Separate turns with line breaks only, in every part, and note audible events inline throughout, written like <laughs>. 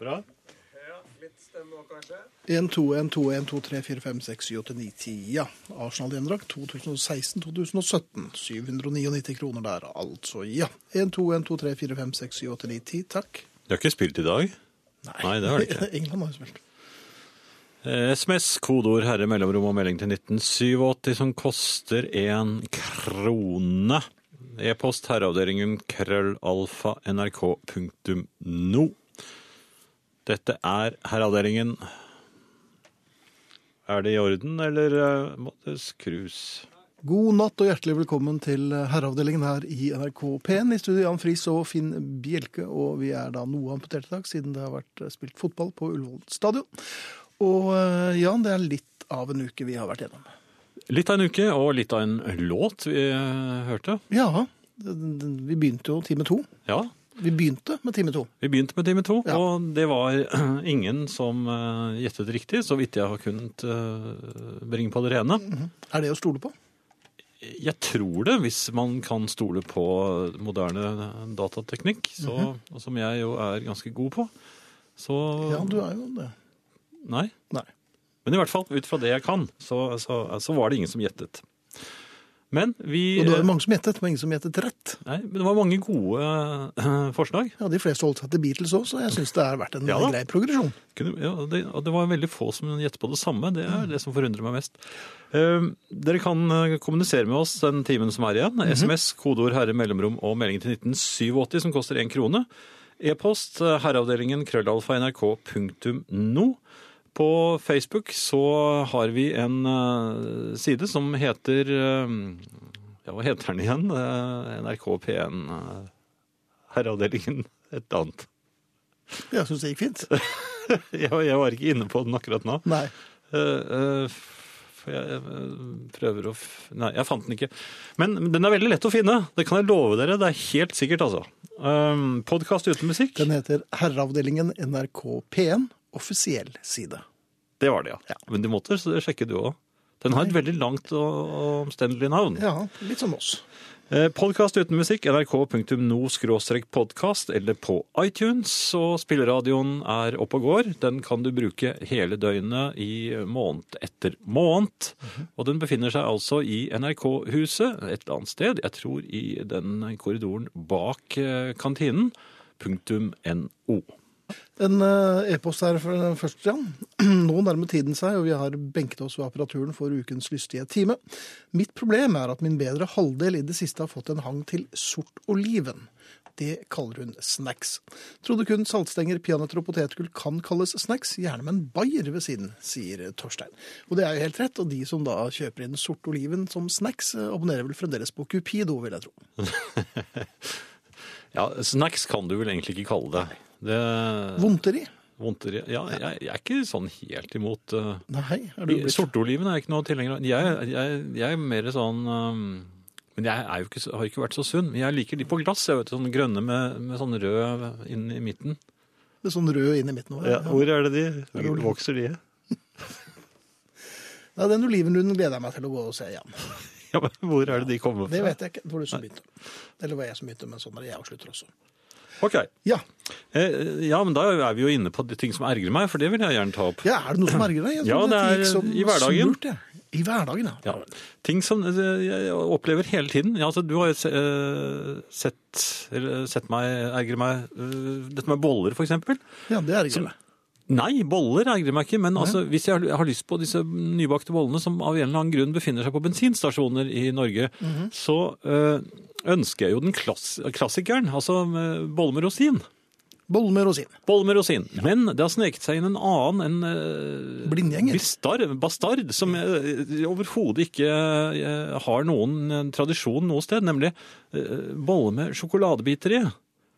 Bra.
Ja, litt stemme òg, kanskje.
1-2-1-2-1-2-3-4-5-6-7-8-9-10. Ja. Arsenal-gjendrakt 2016-2017. 799 kroner der, altså. Ja. 1-2-1-2-3-4-5-6-7-8-9-10. Takk.
Du har ikke spilt i dag? Nei, det har de
<laughs>
ikke.
England har jo spilt.
Eh, SMS, kodeord herre mellomrom og melding til 1987 som koster én krone. E-post herreavdelingen krøllalfa nrk.no. Dette er herreavdelingen. Er det i orden, eller eh, må det skrus?
God natt og hjertelig velkommen til eh, herreavdelingen her i NRK P1. I studio Jan Friis og Finn Bjelke, og vi er da noe amputert i dag siden det har vært eh, spilt fotball på Ullevål stadion. Og eh, Jan, det er litt av en uke vi har vært gjennom.
Litt av en uke og litt av en låt vi eh, hørte.
Ja, d- d- vi begynte jo time to.
Ja,
Vi begynte med time to.
vi begynte med time to,
Ja.
og det var <clears throat> ingen som eh, gjettet riktig, så vidt jeg har kunnet eh, bringe på det rene.
Er det å stole på?
Jeg tror det, hvis man kan stole på moderne datateknikk, så,
Mhm.
som jeg jo er ganske god på. Så
Ja, du er jo det.
Nei.
Nei.
Men i hvert fall, ut fra det jeg kan, så, så, så var det ingen som gjettet. Men vi
Og det var jo mange som gjettet, men ingen som gjettet rett.
Nei, men det var mange gode eh, <clears throat> forslag.
Ja, De fleste holdt seg til Beatles òg, så jeg syns det har vært en
Ja da.
grei progresjon.
Kunne, ja, det, og det var veldig få som gjettet på det samme. Det er det som forundrer meg mest. Eh, dere kan eh, kommunisere med oss den timen som er igjen. SMS, kodeord herre mellomrom og melding til 1987 som koster én krone. E-post eh, herreavdelingen krøllalfa nrk.no. På Facebook så har vi en eh, side som heter eh, Ja, hva heter den igjen? Eh, NRK P1 eh, Herreavdelingen et eller annet. <laughs>
Jeg syns det gikk fint.
Jeg, jeg var ikke inne på den akkurat nå.
Nei.
Eh, eh, for jeg eh, prøver å f Nei, jeg fant den ikke. Men den er veldig lett å finne. Det kan jeg love dere. Det er helt sikkert, altså. Um, Podkast uten musikk.
Den heter Herreavdelingen NRK P1, offisiell side.
Det var det, ja. Men du måtte så det sjekker du òg. Den har et veldig langt og og omstendelig navn.
Ja, litt som oss.
Podkast Eh, uten musikk, nrk.no-podkast eller på iTunes. Og spilleradioen er oppe og går. Den kan du bruke hele døgnet i måned etter måned. Og den befinner seg altså i NRK-huset et eller annet sted. Jeg tror i den korridoren bak eh, kantinen. Punktum no.
En eh, e-post her fra- først, Jan. <clears throat> Nå nærmer tiden seg, og vi har benket oss ved apparaturen for ukens lystige time. Mitt problem er at min bedre halvdel i det siste har fått en hang til sort oliven. Det kaller hun snacks. Trodde kun saltstenger, peanøtter og potetgull kan kalles snacks, gjerne med en bayer ved siden, sier Torstein. Og det er jo helt rett, og de som da kjøper inn sort oliven som snacks, eh, abonnerer vel fremdeles på Cupido, vil jeg tro.
Ja, snacks kan du vel egentlig ikke kalle det. det
Vondteri?
vondter, ja, jeg, jeg er ikke sånn helt imot eh,
Nei, er du blitt
Sortoliven er jeg ikke noe tilhenger av. Jeg, jeg, jeg er mer sånn øhm, Men jeg er jo ikke, så- har ikke vært så sunn. Men jeg liker de på glass. Jeg vet, sånn grønne med, med sånn rød inn i midten.
Det er sånn rød inn i midten? nå, ja.
hvor er det de? Hvor vokser de?
Nei, Den olivenrunden gleder jeg meg til å gå og se igjen.
<laughs> Ja, men hvor er det de kommer
Det
fra?
vet jeg ikke. Det var du som begynte. Eller var jeg som begynte, men sånn er det. Jeg avslutter også.
Ok.
Ja,
Eh, ja, men da er vi jo inne på de ting som ergrer meg, for det vil jeg gjerne ta opp.
ja er det noe som ergrer deg? Jeg
Ja,
trodde
det
dette
er
gikk som
i hverdagen.
Smurt, ja. I hverdagen, ja.
Ja, ting som eh, jeg opplever hele tiden. Ja, altså, du har jo se- eh, sett, eller, sett meg ergre meg eh, Dette med boller, for eksempel.
Ja, det ergrer meg.
Nei, boller ergrer meg ikke, men altså, hvis jeg har- har lyst på disse nybakte bollene som av en eller annen grunn befinner seg på bensinstasjoner i Norge, så øh, ønsker jeg jo den klass klassikeren, altså øh, bolle med rosin.
Bolle med rosin.
Bolle med rosin. Men det har sneket seg inn en annen, en øh,
Blindgjenger.
bistar- bastard, som øh, overhodet ikke øh, har noen øh, tradisjon noe sted, nemlig øh, bolle med sjokoladebiter i.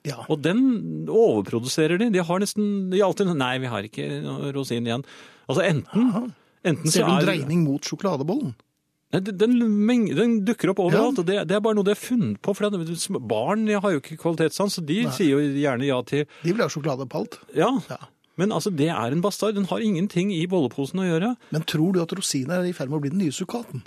Ja.
Og den overproduserer de. De har nesten de har alltid Nei, vi har ikke rosin igjen. Altså enten, enten
Ser
så
du en
er
dreining mot sjokoladebollen?
Nei, den, meng- den dukker opp overalt. og Det, det er bare noe de har funnet på. For det, er- barn de har jo ikke kvalitetssans, så de sier jo gjerne ja til
De vil ha sjokolade på alt.
Ja.
Ja.
Men altså, det er en bastard. Den har ingenting i bolleposen å gjøre.
Men tror du at rosin er i ferd med å bli den nye sukkaten?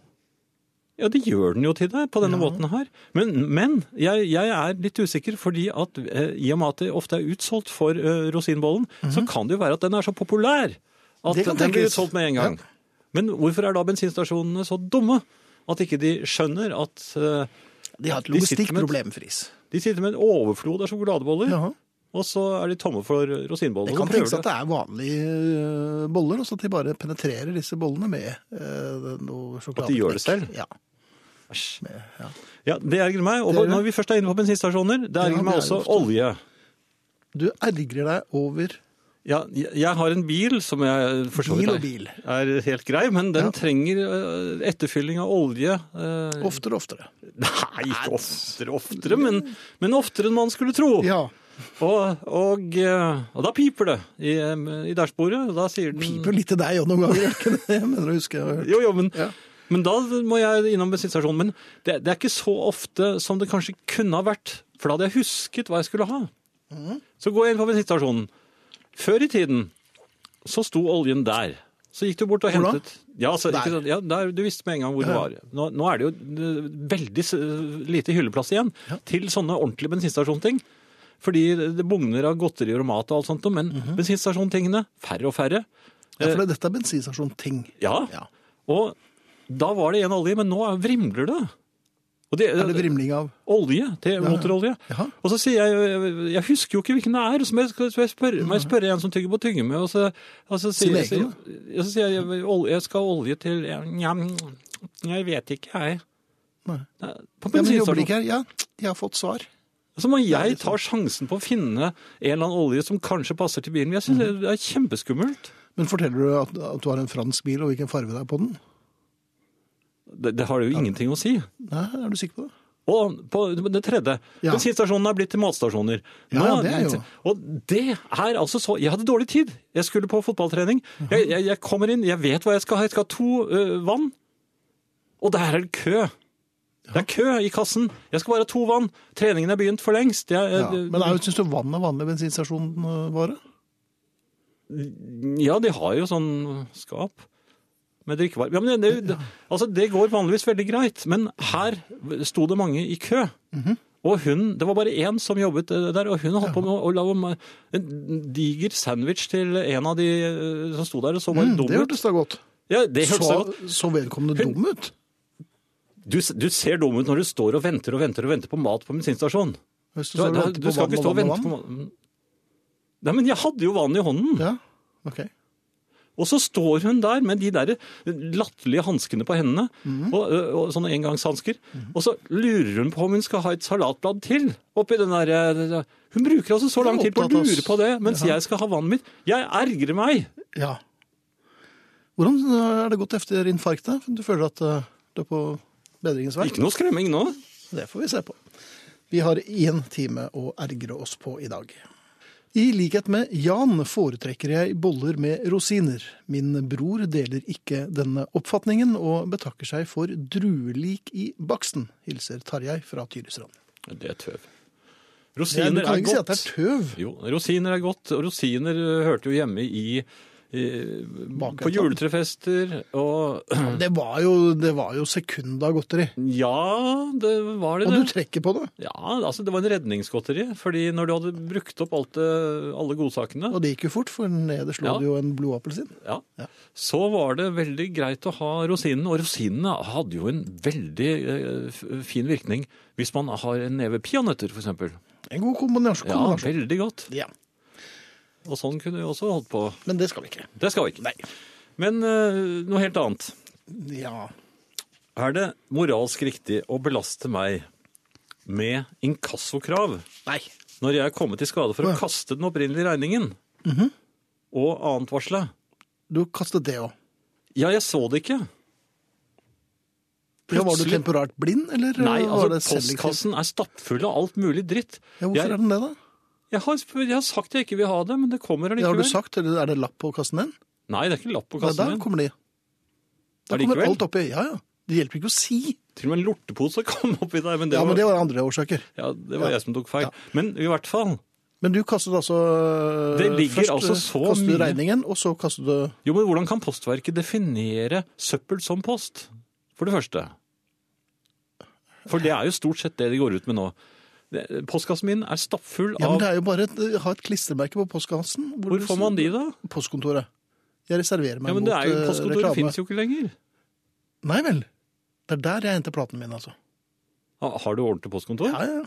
Ja, det gjør den jo til deg på denne måten her. Men, men jeg, jeg er litt usikker, fordi at eh, i og med at det ofte er utsolgt for eh, rosinbollen, så kan det jo være at den er så populær at
Mhm. Det
den
kan
blir
tenkes.
utsolgt med en gang.
Ja.
Men hvorfor er da bensinstasjonene så dumme at ikke de skjønner at eh,
De har et
De sitter med-
logistikkproblem, Friis.
de sitter med en overflod av sjokoladeboller,
Jaha.
og så er de tomme for rosinboller.
Det
og
kan
så prøver
tenkes at det er vanlige øh, boller, og så at de bare penetrerer disse bollene med øh, noe sjokolade.
At de gjør det selv?
Ja.
Æsj.
ja.
Ja, det ergrer meg. Og
Det gjør det.
når vi først er inne på bensinstasjoner, det ergrer
det
meg
er det
også
ofte.
olje.
Du ergrer deg over
Ja, jeg jeg har en bil som jeg for så
Bil og
vidt
bil.
er, er helt grei, men den
Ja.
trenger eh, etterfylling av olje. eh,
oftere og oftere.
Nei, ikke oftere, oftere, men, men oftere enn man skulle tro.
Ja.
Og, og, eh, og da piper det i, eh, i dashbordet. og Da sier den
Piper litt til deg òg noen ganger. gjør det ikke det? Jeg mener å huske jeg har hørt.
Jo, jo, men,
Ja.
men da må jeg innom bensinstasjonen. Men det, det er ikke så ofte som det kanskje kunne ha vært, for da hadde jeg husket hva jeg skulle ha.
Mm.
Så går jeg inn på bensinstasjonen. Før i tiden så sto oljen der. Så gikk du bort og
Hvor da?
hentet ja, altså,
Der.
Ikke, sant? ja, der, Du visste med en gang hvor
Ja.
det var. Nå, nå er det jo eh, veldig s- lite hylleplass igjen til sånne ordentlige bensinstasjonsting. Fordi det bugner av godterier og mat og alt sånt, men
Mhm.
bensinstasjontingene færre og færre.
Ja, for det- dette er bensinstasjon-ting.
Ja.
Ja.
Og da var det en olje, men nå er- vrimler det. Og det,
Er det vrimling av
Olje til motorolje.
Jaha.
Og så sier jeg Jeg husker jo ikke hvilken det er, så må jeg, så jeg spørre, må jeg spørre en som tygger på tyggegummi. Og så, og så sier
Sin
jeg,
egen,
ja, så sier jeg, ol- jeg skal ha olje til Nja, jeg vet ikke, jeg.
Nei.
Nei, På
Ja, men jobber de
bensinstasjonen.
ikke her? Ja, jeg har fått svar.
Så må jeg ta sjansen på å finne en eller annen olje som kanskje passer til bilen. Jeg syns
Mhm.
det er kjempeskummelt.
Men forteller du at, at du har en fransk bil, og hvilken farge det er på den?
Det, det har jo ingenting å si.
Nei, er du sikker på det?
Og på det tredje,
Ja.
bensinstasjonene er blitt til matstasjoner.
Ja, det er jo-
Og det er altså så Jeg hadde dårlig tid. Jeg skulle på fotballtrening. Jeg, jeg, jeg kommer inn, jeg vet hva jeg skal ha. Jeg skal ha to øh, vann. Og der er det kø. Det er kø i kassen. Jeg skal bare ha to vann. Treningen er begynt for lengst. Jeg,
Ja.
øh,
Men syns du vann er vanlig bensinstasjonvare?
ja, de har jo sånn skap med drikkevarer. Ja, men det, det, Altså, det går vanligvis veldig greit, men her sto det mange i kø.
Mhm.
Og hun, Det var bare én som jobbet eh, der, og hun holdt på med å å lage ma- en diger sandwich til en av de eh, som sto der og så bare dum
Mhm, Det
ut.
hørtes da godt.
Ja, det hørtes
så,
da godt.
så vedkommende
Hun-
dum ut?
Du, s- du ser dum ut når du står og venter og venter og venter på mat på bensinstasjonen.
Hvis
Du,
står og
du,
venter
du
på
skal
vann
ikke stå og
vann
vente på mat. Nei, men jeg hadde jo vann i hånden.
vann. Ja, ok.
Og så står hun der med de der latterlige hanskene på hendene,
Mhm.
og, og sånne engangshansker, og så lurer hun på om hun skal ha et salatblad til oppi den der Hun bruker altså så lang tid på å
Opptatt, ass.
lure på det, mens jeg skal ha vannet mitt. Jeg ergrer meg!
Ja. Hvordan eh, er det gått etter infarktet? Du føler at eh, du er på bedringens vei?
Ikke noe skremming nå.
Det får vi se på. Vi har én time å ergre oss på i dag. I likhet med Jan foretrekker jeg boller med rosiner. Min bror deler ikke denne oppfatningen, og betakker seg for druelik i baksten, hilser Tarjei fra Tyristrand.
Det er tøv.
Det er, du
Rosiner
kan
er
ikke si at det er
godt.
tøv.
Jo, rosiner er godt. og Rosiner eh, hørte jo hjemme i i- på
Bakgata.
juletrefester og <clears throat>
Det var jo, det var jo sekunda godteri.
Ja, det var det.
Og
det.
du trekker på det.
Ja, altså det var en redningsgodteri. fordi når du hadde brukt opp alt det, alle godsakene,
Og det gikk jo fort, for nede slo
Ja.
det jo en blodappelsin.
ja,
Ja.
så var det veldig greit å ha rosinene. Og rosinene hadde jo en veldig eh, f- fin virkning hvis man har en neve peanøtter, f.eks.
En god kombinasjon.
Ja,
kombinasjon.
veldig godt.
Ja,
Og sånn kunne vi også holdt på.
Men det skal vi ikke.
Det skal vi ikke. Men eh, noe helt annet.
Ja.
Er det moralsk riktig å belaste meg med inkassokrav?
Nei.
når jeg er kommet i skade for å
Ja. Mhm.
kaste den opprinnelige regningen og annet varsle.
Du kastet det òg.
Ja, jeg så det ikke.
Ja, var du
Plutselig-
temporært blind, eller
Nei,
var
altså,
det selektivt?
postkassen er stappfull av alt mulig dritt.
Ja, hvorfor
jeg,
er den det, da?
jeg, har, jeg har sagt jeg ikke vil ha det, men det kommer
Det har
allikevel.
du sagt, eller er det lapp på kassen din?
Nei, det er ikke lapp på
Nei,
kassen
der
min.
kommer de. Da kommer
Allikevel.
alt oppi. Ja, ja. Det hjelper ikke å si.
Til og med en lortepose kom oppi der, men det
Ja,
var,
men det var andre årsaker.
ja, det var
Ja.
jeg som tok feil.
Ja.
Men i hvert fall
Men du kastet altså
Det ligger
Først eh,
altså så
kastet du
mye-
regningen, og så kastet du
Jo, men hvordan kan Postverket definere søppel som post? For det første. For det er jo stort sett det de går ut med nå. Det- Postkassen min er stappfull
Ja, men
av
det er jo bare et, ha et klistremerke på postkassen.
Hvor får man de, da?
Postkontoret. Jeg reserverer meg
Ja, men
mot
det er jo,
eh,
Postkontoret
reklame.
fins jo ikke lenger.
Nei vel. Det er der jeg henter platene mine, altså.
Ha- Har du ordentlig postkontor?
Ja, ja.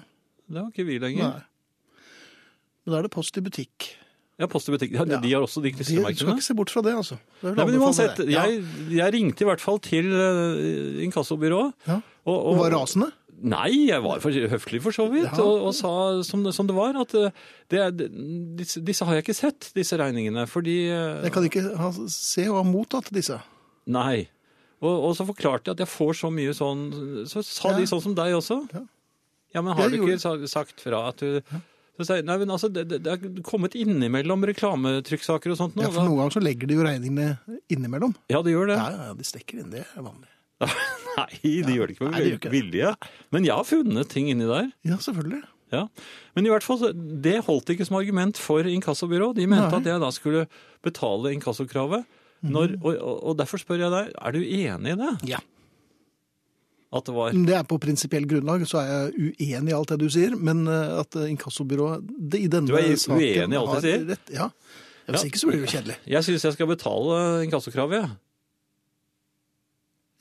Det har ikke vi lenger.
Nei. Men da er det post i butikk.
Ja, Post i butikk. Ja,
Ja.
De har også de
De skal
klistremerkene.
ikke se bort fra det, altså. Det er vel
Nei, men
anbefalt
uansett,
det. Ja.
jeg, jeg ringte i hvert fall til eh, inkassobyrået.
Ja.
Og,
Og var rasende?
Nei, jeg var for, høflig for så vidt,
Ja.
og, og sa som, det- som det var, at eh, det, er- disse, disse har jeg ikke sett, disse regningene, fordi eh,
Jeg kan ikke ha, se og ha mottatt disse.
Nei. Og, og så forklarte jeg at jeg får så mye sånn Så sa
Ja.
de sånn som deg også.
Ja.
Ja, men har
Jeg
du ikke sa- sagt fra at du så sa jeg, Nei, men altså, det, det, det er kommet innimellom reklametrykksaker og sånt nå.
Ja,
Ja,
for Noen ganger så legger de jo regningene innimellom.
ja det gjør det.
Ja, ja, ja, de stikker inn. Det er vanlig.
<laughs> Nei, de gjør det
Nei,
ikke med
de gjør ikke det.
vilje. Men jeg har funnet ting inni der.
Ja, selvfølgelig.
Ja. Men i hvert fall, så- det holdt ikke som argument for inkassobyrå. De
Nei.
mente
Mhm.
at jeg da skulle betale inkassokravet. Når, og, og og derfor spør jeg deg, er du enig i det?
Ja.
At det var
Men Det er på prinsipiell grunnlag, så er jeg uenig i alt det du sier. Men eh, at eh, inkassobyrået det- i denne
Du er
saken
uenig i alt jeg
har Rett, ja. Ja, Hvis
Ja.
ikke så blir det jo kjedelig.
Jeg syns jeg skal betale inkassokravet, jeg.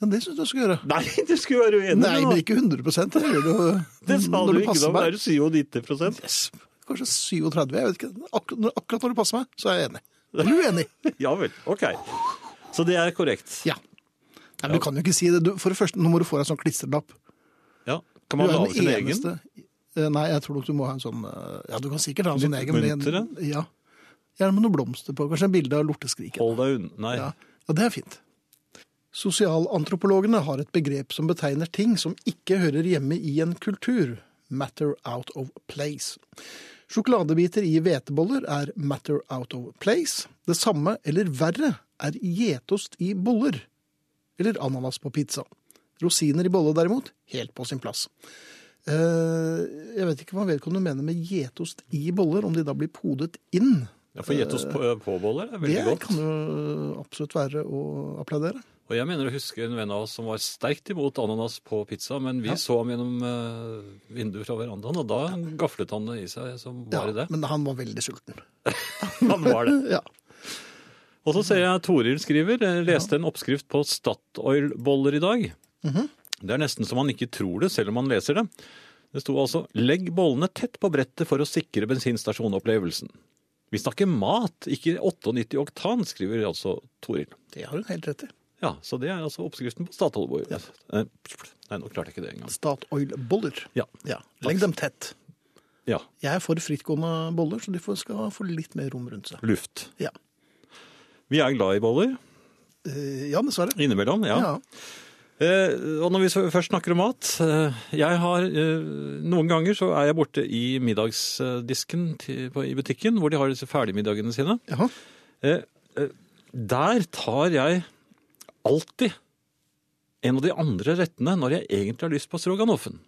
Ja, det syns jeg du skal gjøre.
Nei, du skulle være uenig
Nei, men
med meg!
ikke 100 Det gjør du jo
<laughs> Det sa
når
du
det
ikke,
passer
da
meg.
var det 97
Yes. Kanskje 37, jeg vet ikke. Akkur når- akkurat når det passer meg, så er jeg
<laughs>
enig. Eller uenig.
Ja vel. OK. Så det er korrekt.
Ja. Nei, men Du kan jo ikke si det. Du, for det første, Nå må du få deg en sånn klistrelapp.
Ja. Kan
Du
man
er
lage sin
den
egen?
eneste Eh, Nei, jeg tror nok du må ha en sånn eh, Ja, du kan sikkert ha en sånn
Litt
egen. men-
muntere?
Ja. Gjerne med noen blomster på. Kanskje en bilde av lorteskriket.
Hold deg unna. Nei.
Ja. ja, det er fint. Sosialantropologene har et begrep som betegner ting som ikke hører hjemme i en kultur. Matter out of place. Sjokoladebiter i hveteboller er matter out of place. Det samme, eller verre, er gjetost i boller. Eller ananas på pizza. Rosiner i bolle, derimot, helt på sin plass. Eh, jeg vet ikke hva vedkommende mener med gjetost i boller, om de da blir podet inn.
Ja, for gjett oss på, på boller er veldig
Eh, Det
godt.
kan jo absolutt være å applaudere.
Og jeg mener å huske en venn av oss som var sterkt imot ananas på pizza, men vi så ham gjennom eh, vinduet fra verandaen, og da gaflet han det i seg som bare det.
Men han var veldig sulten.
Han var det.
<clears throat> Ja.
Og så ser jeg Toril skriver, jeg leste en oppskrift på Statoil-boller i dag. Det er nesten så man ikke tror det, selv om man leser det. Det sto altså 'legg bollene tett på brettet for å sikre bensinstasjonopplevelsen'. Vi snakker mat, ikke 98 oktan, skriver altså Toril.
Det har hun helt rett i.
Ja, så det er altså oppskriften på Statoil. Eh, Nei, nå klarte jeg ikke det engang.
Statoil-boller.
Ja.
Ja. Legg dem tett.
ja.
Jeg er for frittgående boller, så de får- skal få litt mer rom rundt seg.
Luft.
Ja,
Vi er glad i boller
Eh, ja dessverre.
innimellom, ja.
Ja.
Eh, og når vi så- først snakker om mat eh, jeg har, eh, Noen ganger så er jeg borte i middagsdisken til, på, i butikken, hvor de har disse ferdigmiddagene sine.
Jaha.
Eh, eh, der tar jeg alltid en av de andre rettene når jeg egentlig har lyst på stroganoffen.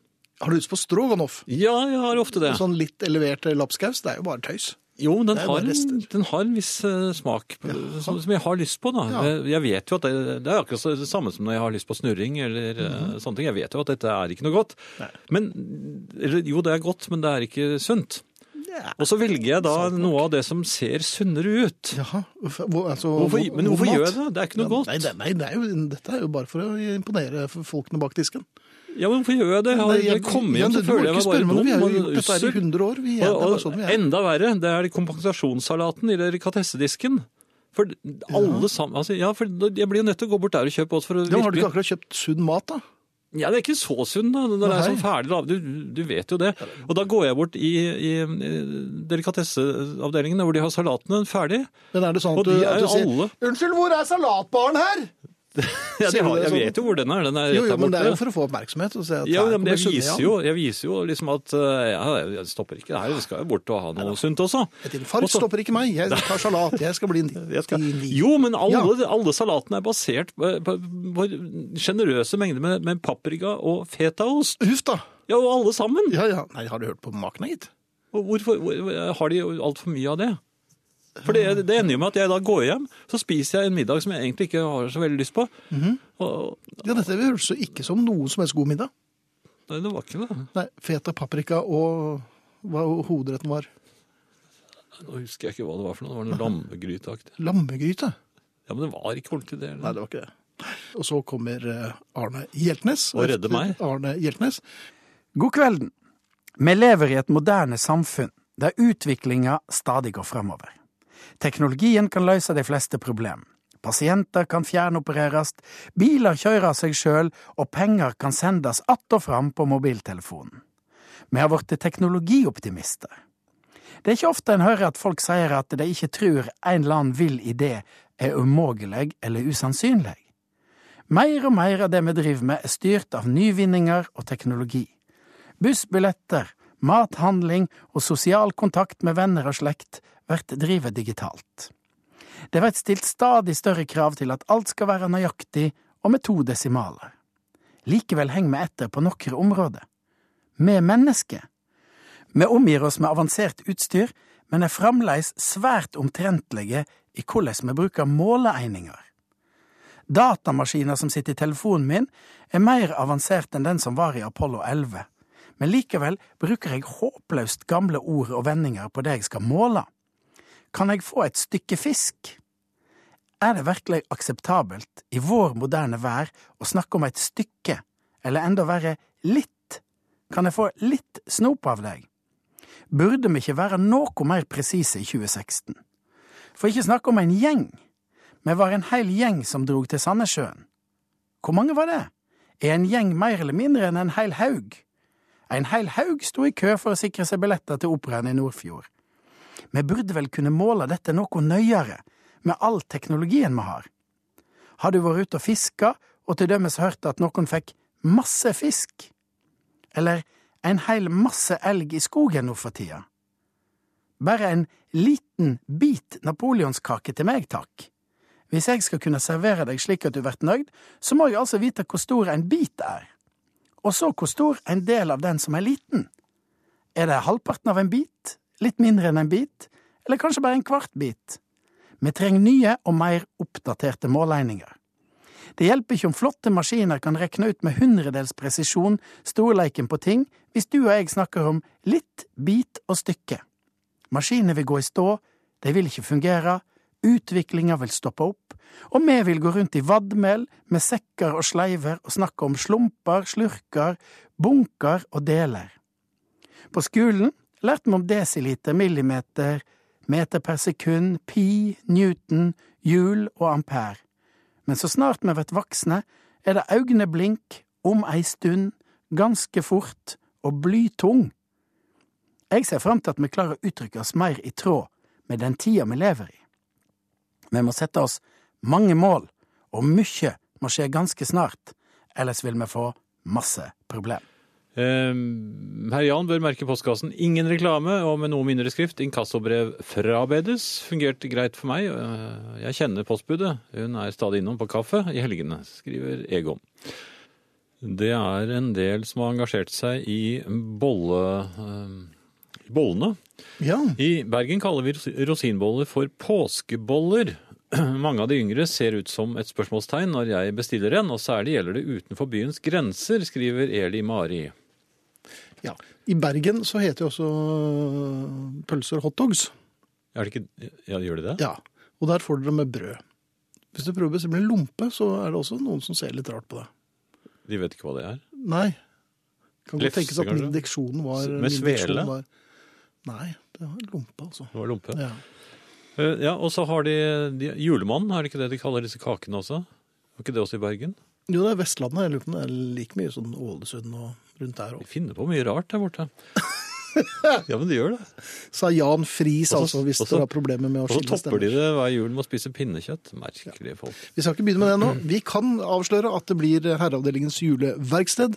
Har du lyst på stroganoff?
Ja, jeg har ofte det.
Sånn litt elevert lapskaus? Det er jo bare tøys.
Jo, men den
Det er
har,
bare
en,
rester.
den har en viss eh, smak på- som, som jeg har lyst på. da.
Ja.
Jeg- Jeg vet jo at det, det er akkurat så- det samme som når jeg har lyst på snurring eller
Mhm.
eh, sånne ting. Jeg vet jo at dette er ikke noe godt. Men, eller, jo, det er godt, men det er ikke sunt.
Ja.
Og så velger jeg da
Sånn
noe av det som ser sunnere ut.
Jaha. Hvorfor- hvor- altså,
Hvorfor,
hvor-
men hvorfor
hvor
gjør
mat?
jeg det? Det er ikke noe
Nei,
godt.
det, nei det er jo, dette er jo bare for å imponere folkene bak disken.
Ja, men hvorfor gjør jeg det? Jeg, har- jeg kommer
ja,
hjem, så
du må
føler jeg
ikke
meg bare
spørre meg om
dum
Vi har jo
og
gjort dette her i
ussel.
100 år. Vi er, det er
Og,
bare sånn
og
vi er.
enda verre, det er kompensasjonssalaten i den kassetedisken. For alle sammen altså, Ja, for da- jeg blir jo nødt til å gå bort der og kjøpe også for å
Ja, har du ikke akkurat kjøpt sunn mat, da?
Ja, det er ikke så sunn, da. Når det er sånn ferdig lav. Du, du vet jo det. Og da går jeg bort i, i eh, delikatesseavdelingen hvor de har salatene ferdig.
Men er det sånn
Og
at du,
de er
at du
jo
sier
alle
Unnskyld, hvor er salatbaren her?
<laughs> ja, de
Sier du
har,
det
Jeg
sånn?
vet jo hvor den er. Den er
Jo,
rett
jo,
der
men det er jo
borte.
for å få oppmerksomhet. Og si at
Ja,
her
men jeg
kommer
viser
Sunne,
jo, jeg viser jo liksom at eh, ja, jeg stopper ikke her. Vi skal jo bort og ha noe sunt også.
ja. Et infarkt
Også-
stopper ikke meg. Jeg tar salat. Jeg skal bli en
<laughs> Jeg skal...
din-
Jo, men alle, alle salatene er basert på, på, på sjenerøse mengder med, med paprika og fetaost.
Huff da.
Ja, og alle sammen!
Ja, ja. Nei, har du hørt på maken, gitt?
Og Hvorfor hvor- har de altfor mye av det? For det, det ender jo med at jeg da går hjem, så spiser jeg en middag som jeg egentlig ikke har så veldig lyst på. og,
Ja, dette høres jo ikke som noe som helst god middag.
Nei, det var ikke det.
Nei, feta paprika og hva hovedretten var.
Nå husker jeg ikke hva det var for noe. Det var noe lammegryteaktig.
Lammegryte.
Ja, men det var ikke ordentlig det.
Nei, det var ikke det. Og så kommer eh, Arne Hjeltnes.
Og redder meg.
Arne Hjeltnes.
God kvelden. Vi lever i et moderne samfunn der utviklinga stadig går fremover. Teknologien kan løse de fleste problemer. Pasienter kan fjernopereres, biler kjører seg sjøl, og penger kan sendes att og fram på mobiltelefonen. Vi har blitt teknologioptimister. Det er ikke ofte en hører at folk sier at de ikke tror en eller annen vill idé er umågelig eller usannsynlig. Mer og mer av det vi driver med er styrt av nyvinninger og teknologi bussbilletter, mathandling og sosial kontakt med venner og slekt blir drevet digitalt. Det blir stilt stadig større krav til at alt skal være nøyaktig og med to desimaler. Likevel henger vi etter på noen områder. Vi er mennesker. Vi omgir oss med avansert utstyr, men er fremdeles svært omtrentlige i hvordan vi bruker måleegninger. Datamaskiner som sitter i telefonen min, er mer avansert enn den som var i Apollo 11 men likevel bruker jeg håpløst gamle ord og vendinger på det jeg skal måle. Kan jeg få et stykke fisk? Er det virkelig akseptabelt i vår moderne vær å snakke om et stykke, eller enda verre litt? Kan jeg få litt snop av deg? Burde vi ikke være noe mer presise i 2016? For ikke snakke om en gjeng. Vi var en hel gjeng som drog til Sandnessjøen. Hvor mange var det? Er en gjeng mer eller mindre enn en hel haug? En hel haug sto i kø for å sikre seg billetter til operaen i Nordfjord. Vi burde vel kunne måle dette noe nøyere, med all teknologien vi har. Har du vært ute og fiska, og til dømes hørt at noen fikk masse fisk? Eller en heil masse elg i skogen nå for tida? Bare en liten bit napoleonskake til meg, takk. Hvis jeg skal kunne servere deg slik at du blir nøyd, så må jeg altså vite hvor stor en bit er og så hvor stor en del av den som er liten. Er det halvparten av en bit, litt mindre enn en bit, eller kanskje bare en kvart bit? Vi trenger nye og mer oppdaterte måleegninger. Det hjelper ikke om flotte maskiner kan regne ut med hundredels presisjon storleiken på ting hvis du og jeg snakker om litt, bit og stykke. Maskinene vil gå i stå, de vil ikke fungere, utviklinga vil stoppe opp, og vi vil gå rundt i vadmel med sekker og sleiver og snakke om slumper, slurker, bunker og deler. På skolen lærte vi om desiliter, millimeter, meter per sekund, pi, newton, hjul og ampere, men så snart vi blir voksne, er det øyneblink, om ei stund, ganske fort og blytung. Jeg ser fram til at vi klarer å uttrykke oss mer i tråd med den tida vi lever i. Vi må sette oss mange mål, og mye må skje ganske snart, ellers vil vi få masse problem.
Eh, Herr Jan bør merke postkassen. Ingen reklame, og med noe mindre skrift. Inkassobrev frabedes. Fungerte greit for meg. Eh, Jeg kjenner postbudet. Hun er stadig innom på kaffe i helgene, skriver Egon. Det er en del som har engasjert seg i bolle, eh, bollene.
Ja.
I Bergen kaller vi ros- rosinboller for påskeboller. <clears throat> Mange av de yngre ser ut som et spørsmålstegn når jeg bestiller en, og særlig gjelder det utenfor byens grenser, skriver Eli Mari.
ja. I Bergen så heter jo også øh, pølser hotdogs.
Er det ikke Ja, gjør de det?
Ja. Og der får dere med brød. Hvis du prøver å bestemme en lompe, så er det også noen som ser litt rart på det.
De vet ikke hva det er.
Nei. Kan godt
Lefse,
tenkes at min
kanskje?
diksjon var
Med
min diksjon
svele?
var- Nei, det var en lompe, altså.
Det var lompe.
Ja.
Eh, Ja, og så har de, de Julemannen, er det ikke det de kaller disse kakene også? Var ikke det også i Bergen?
Jo, det er Vestlandet. Jeg lurer på om det er like mye sånn Ålesund og rundt der
De
òg.
finner på mye rart der
<laughs>
borte. Ja, men de gjør det.
Sa Jan Friis,
Og så-
altså, hvis
og så-
du har problemer med å
Og så
skille
topper de
stemmer.
det hver jul med å spise pinnekjøtt. Merkelige folk.
Vi skal ikke begynne med det nå. Vi kan avsløre at det blir Herreavdelingens juleverksted.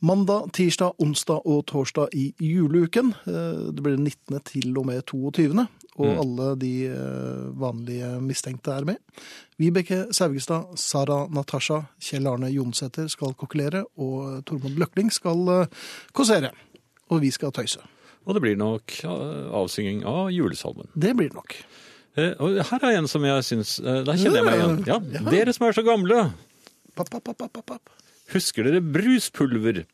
Mandag, tirsdag, onsdag og torsdag i juleuken. Eh, Det blir 19. til og med 22. Og alle de eh, vanlige mistenkte er med. Vibeke Saugestad, Sara Natasha, Kjell Arne Jonsæter skal kokkelere, og Tormod Løkling skal eh, kåsere. Og vi skal tøyse.
Og det blir nok eh, avsynging av julesalmen.
Det blir det nok.
Eh, og her er en som jeg syns eh, Der kjenner jeg meg igjen. Ja,
Ja.
Dere som er så gamle,
Papp, papp, papp, papp, papp.
husker dere bruspulver?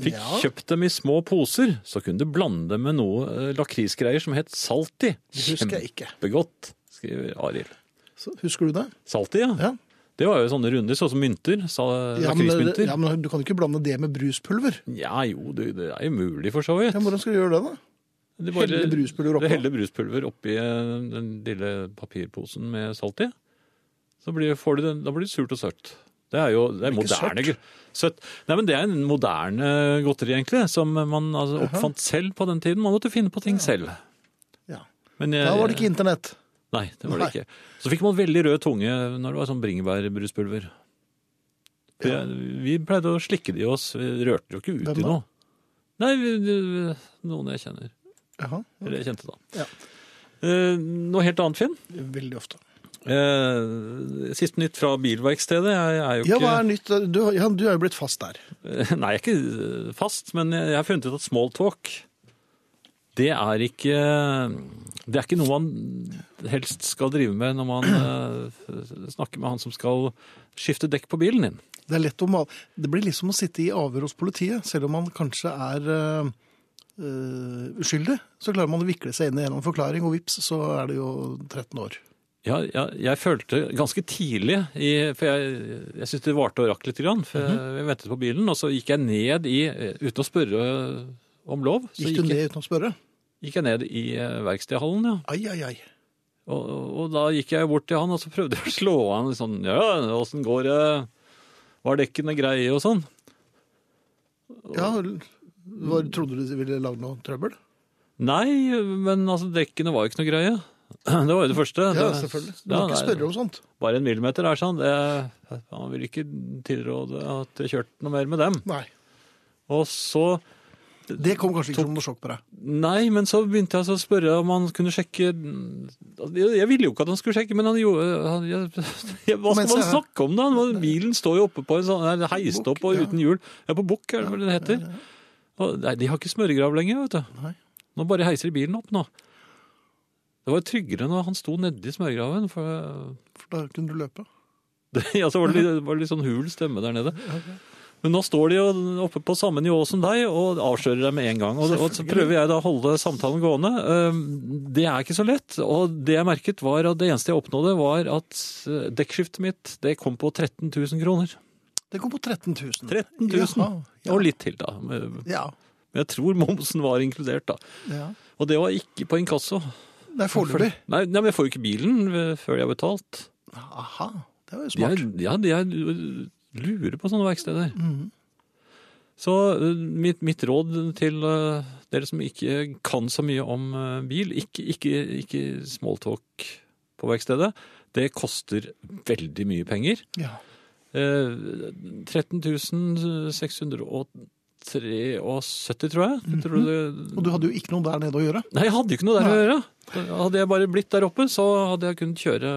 Fikk
Ja.
kjøpt dem i små poser, så kunne du blande dem med noe eh, lakrisgreier som het Salti.
Det husker jeg ikke.
Kjempegodt, skriver Arild.
Så, husker du det?
Salti, ja.
Ja.
Det var jo sånne runder, sånn som mynter. Sa,
Ja men,
lakrismynter.
ja,
Ja,
men Du kan jo ikke blande det med bruspulver.
jo, det, det er jo mulig for så vidt.
Ja, hvordan skal du gjøre det, da?
Du
helle bruspulver oppå.
Du heller bruspulver oppi eh, den lille papirposen med salt i. Så blir, får du den, da blir det surt og søtt. Det er jo det er
Ikke
moderne
sørt.
gr- søtt. Nei, men Det er en moderne godteri, egentlig, som man altså, oppfant selv på den tiden. Man måtte finne på ting selv.
Ja.
Men jeg-
Da var det ikke internett.
Nei, det var
Nei.
det ikke. Så fikk man veldig rød tunge når det var sånn bringebærbruspulver. For jeg- Vi pleide å slikke det i oss. Vi rørte det jo ikke ut
Hvem
i
da?
noe. Nei, vi- vi- noen jeg kjenner.
Jaha.
Eller jeg kjente da.
Ja.
Eh, noe helt annet, Finn.
Veldig ofte.
Eh, siste nytt fra bilverkstedet. Jeg er jo
Ja,
ikke,
hva er nytt? Du, ja, du er jo blitt fast der.
<laughs> Nei, jeg er ikke eh, fast, men jeg jeg har funnet ut at smalltalk, det er ikke Det er ikke noe man helst skal drive med når man eh, snakker med han som skal skifte dekk på bilen din.
Det er lett å male. Det blir liksom å sitte i avhør hos politiet, selv om man kanskje er eh, eh, uskyldig. Så klarer man å vikle seg inn i en eller annen forklaring, og vips, så er det jo 13 år.
Ja, jeg, jeg følte ganske tidlig, i, for jeg, jeg syntes det varte og rakk litt, grann, for
Mhm.
jeg, jeg ventet på bilen, og så gikk jeg ned i, uten å spørre om lov, så
Gikk du
gikk, jeg-
ned uten å spørre?
gikk jeg ned i eh, verkstedhallen, ja.
Ai, ai, ai.
Og, og da gikk jeg bort til han, og så prøvde jeg å slå han litt sånn, ja, åssen går det, var dekkene greie og sånn.
Ja, var, trodde du de ville lage noe trøbbel?
Nei, men altså, dekkene var jo ikke noe greie. <clears throat> Det var jo det første.
Ja,
Det-
selvfølgelig. Du
Ja,
må ikke
nei,
spørre om sånt.
Bare en millimeter er sånn. Det, han vil ikke tilråde at jeg kjørte noe mer med dem.
Nei.
Og så,
Det kom kanskje ikke som noe sjokk på deg.
nei, men så begynte jeg så å spørre om han kunne sjekke, jeg jeg ville jo ikke at han skulle sjekke, men han gjorde, han, jeg, <laughs> jeg, hva
Men
skal man
så-
snakke om da? Han- Bilen står jo oppe på en sånn, nei, heist opp og
Bukk, ja.
uten hjul. Ja, på bukk er det hva det heter. Og, nei, de har ikke smørgrav lenger, vet du.
Nei.
Nå bare heiser de bilen opp nå. Det var jo tryggere når han sto nedi smørgraven, for
For da kunne du løpe.
<laughs> det, ja, så var det, litt, var det litt sånn hul stemme der nede. Men nå står de jo oppe på samme nivå som deg og avslører deg med en gang. Og, og så prøver jeg da å holde samtalen gående. Ehm, Det er ikke så lett. Og det jeg merket var at det eneste jeg oppnådde var at eh, dekkskiftet mitt det kom på 13 000 kroner.
Det kom på 13 000.
13 000.
Jaha, ja.
Og litt til, da. Men
Ja.
jeg tror momsen var inkludert, da.
ja.
Og det var ikke på inkasso.
Det er foreløpig.
Nei, nei, men jeg får jo ikke bilen eh, før jeg har betalt.
Aha. Det var jo
De er,
smart.
ja, de er lure på sånne verksteder. Så eh, mitt, mitt råd til eh, dere som ikke kan så mye om eh, bil, ikke, ikke, ikke smalltalk på verkstedet. Det koster veldig mye penger.
Ja.
Eh, 13 673, tror jeg. Tror du det?
Og du hadde jo ikke noe der nede å gjøre.
Nei, jeg hadde jo ikke noe der å gjøre. Hadde jeg bare blitt der oppe, så hadde jeg kunnet kjøre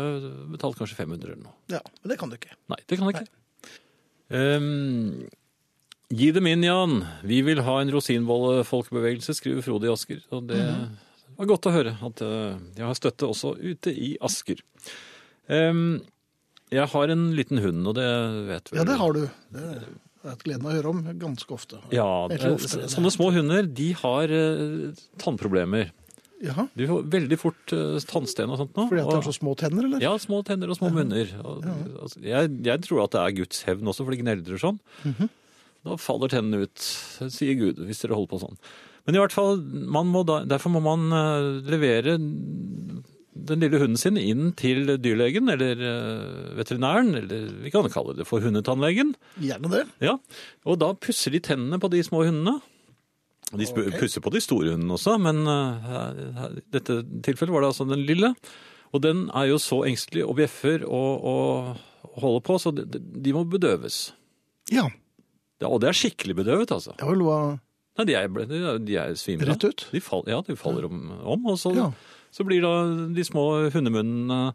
betalt kanskje 500 eller noe.
Ja, Men det kan du ikke.
Nei, det kan jeg ikke. Ehm, gi dem inn, Jan. Vi vil ha en rosinbolle-folkebevegelse, skriver Frode i Asker. Og det var godt å høre at eh, jeg har støtte også ute i Asker. Ehm, jeg har en liten hund, og det vet vel
Ja, det har du. Det er et gleden å høre om ganske ofte.
Ja,
Eller oftere.
eh, sånne små hunder, de har eh, tannproblemer.
Jaha,
Du får veldig fort eh, tannsten og sånt nå.
fordi at det
og-
er så små tenner, eller?
Ja, små tenner og små munner. Og, altså, jeg, jeg tror at det er Guds hevn også, for de gneldrer sånn. Da faller tennene ut, sier Gud, hvis dere holder på sånn. Men i hvert fall, man må da, derfor må man eh, levere den lille hunden sin inn til dyrlegen, eller eh, veterinæren, eller vi kan kalle det for hundetannlegen.
Gjerne det.
Ja, og da pusser de tennene på de små hundene. Og De sp-
Ok.
pusser på de store hundene også, men eh, her- her- i dette tilfellet var det altså den lille. Og den er jo så engstelig og bjeffer og, og holder på, så de, de må bedøves.
Ja.
Ja, og det er skikkelig bedøvet, altså.
Jeg har loa
Nei, de er, ble- de er, de er svimle.
rett ut.
De fall, ja, de faller om, om og så,
Ja.
så blir da de små hundemunnene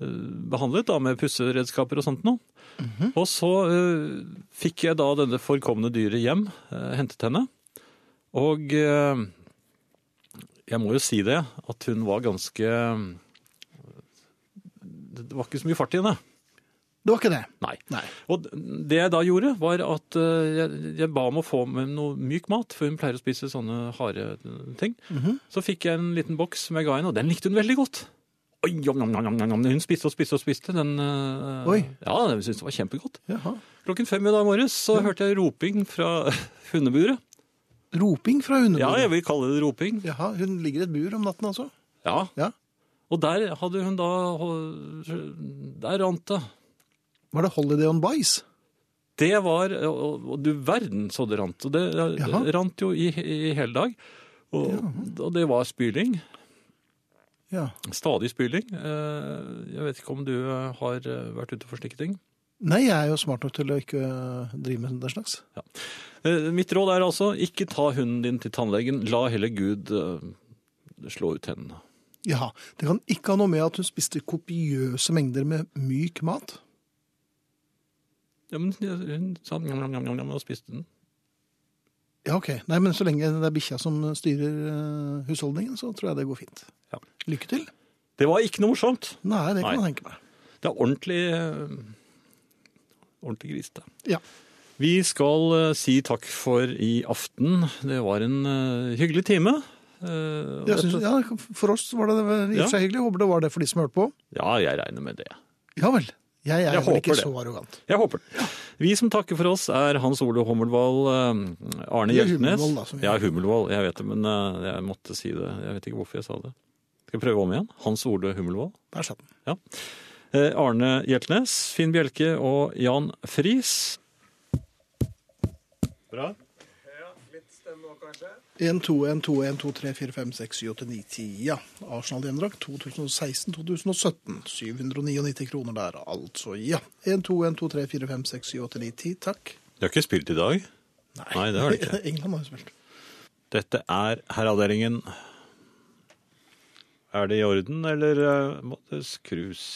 eh, behandlet da, med pusseredskaper og sånt noe.
Mhm.
Og så eh, fikk jeg da denne forkomne dyret hjem, eh, hentet henne. Og eh, jeg må jo si det, at eh, hun var ganske Det var ikke så mye fart i henne.
Det var ikke det.
Nei.
Nei.
Og det jeg da gjorde, var at eh, jeg, jeg ba om å få med noe myk mat, for hun pleier å spise sånne harde eh, ting.
Mhm.
Så fikk jeg en liten boks som jeg ga henne, og den likte hun veldig godt. Oi, jam, jam, jam, jam, jam. Hun spiste og spiste og spiste. Den, eh,
Oi.
Ja, hun syntes det var kjempegodt.
Jaha.
Klokken fem i dag morges så hørte jeg roping fra <laughs> hundeburet.
Roping fra
Ja, jeg
hundeburet.
vil kalle det roping.
Jaha, hun ligger i et bur om natten altså?
Ja.
Ja.
Og der hadde hun da Der rant det.
Var det Holiday on Bice?
Det var og, og du verden så det rant. Og det,
Jaha.
det rant jo i, i hele dag. Og, og det var spyling.
Ja.
Stadig spyling. Eh, Jeg vet ikke om du eh, har eh, vært ute for slike ting?
Nei, jeg er jo smart nok til å ikke øh, drive med den slags.
Eh, Mitt råd er altså ikke ta hunden din til tannlegen. La heller Gud eh, slå ut tennene.
Jaha. Det kan ikke ha noe med at hun spiste kopiøse mengder med myk mat.
Ja, men hun sa njam, njam, njam, njam, njam, og spiste den.
Ja, ok. Nei, men så lenge det er bikkja som styrer øh, husholdningen, så tror jeg det går fint.
Ja.
Lykke til.
Det var ikke noe morsomt.
Nei, det kan
Nei.
jeg tenke meg.
Det er ordentlig, eh, ordentlig grisete.
Ja.
Vi skal eh, si takk for i aften. Det var en eh, hyggelig time. Eh, og
Jeg synes,
dette-
ja, for oss var det vel i og for seg hyggelig. Jeg håper det var det for de som hørte på.
ja, jeg regner med det.
Ja vel. Jeg er
Jeg
vel ikke
håper det.
så arrogant.
Jeg håper det. Vi som takker for oss, er Hans Ole Hummelvold, eh, Arne
Eller
Hjeltnes
Hummelvold, da, som vi-
Ja, Hummelvold. Jeg vet det, men eh, jeg måtte si det. Jeg vet ikke hvorfor jeg sa det. Skal jeg prøve om igjen? Hans Ole Hummelvold.
Der satt den.
Eh, Arne Hjeltnes, Finn Bjelke og Jan Friis. Bra.
Her, litt stemmer kanskje.
1, 2, 1, 2, 1, 2, 3, 4, 5, 6, 7, 8, 9, 10. Ja. Arsenal-gjendrakt 2016-2017. 799 kroner der, altså. Ja. 1, 2, 1, 2, 3, 4, 5, 6, 7, 8, 9, 10. Takk.
Du har ikke spilt i dag? Nei, det har du <laughs> ikke.
<laughs> England har jo spilt.
Dette er herreavdelingen. Er det i orden, eller eh, må det skrus?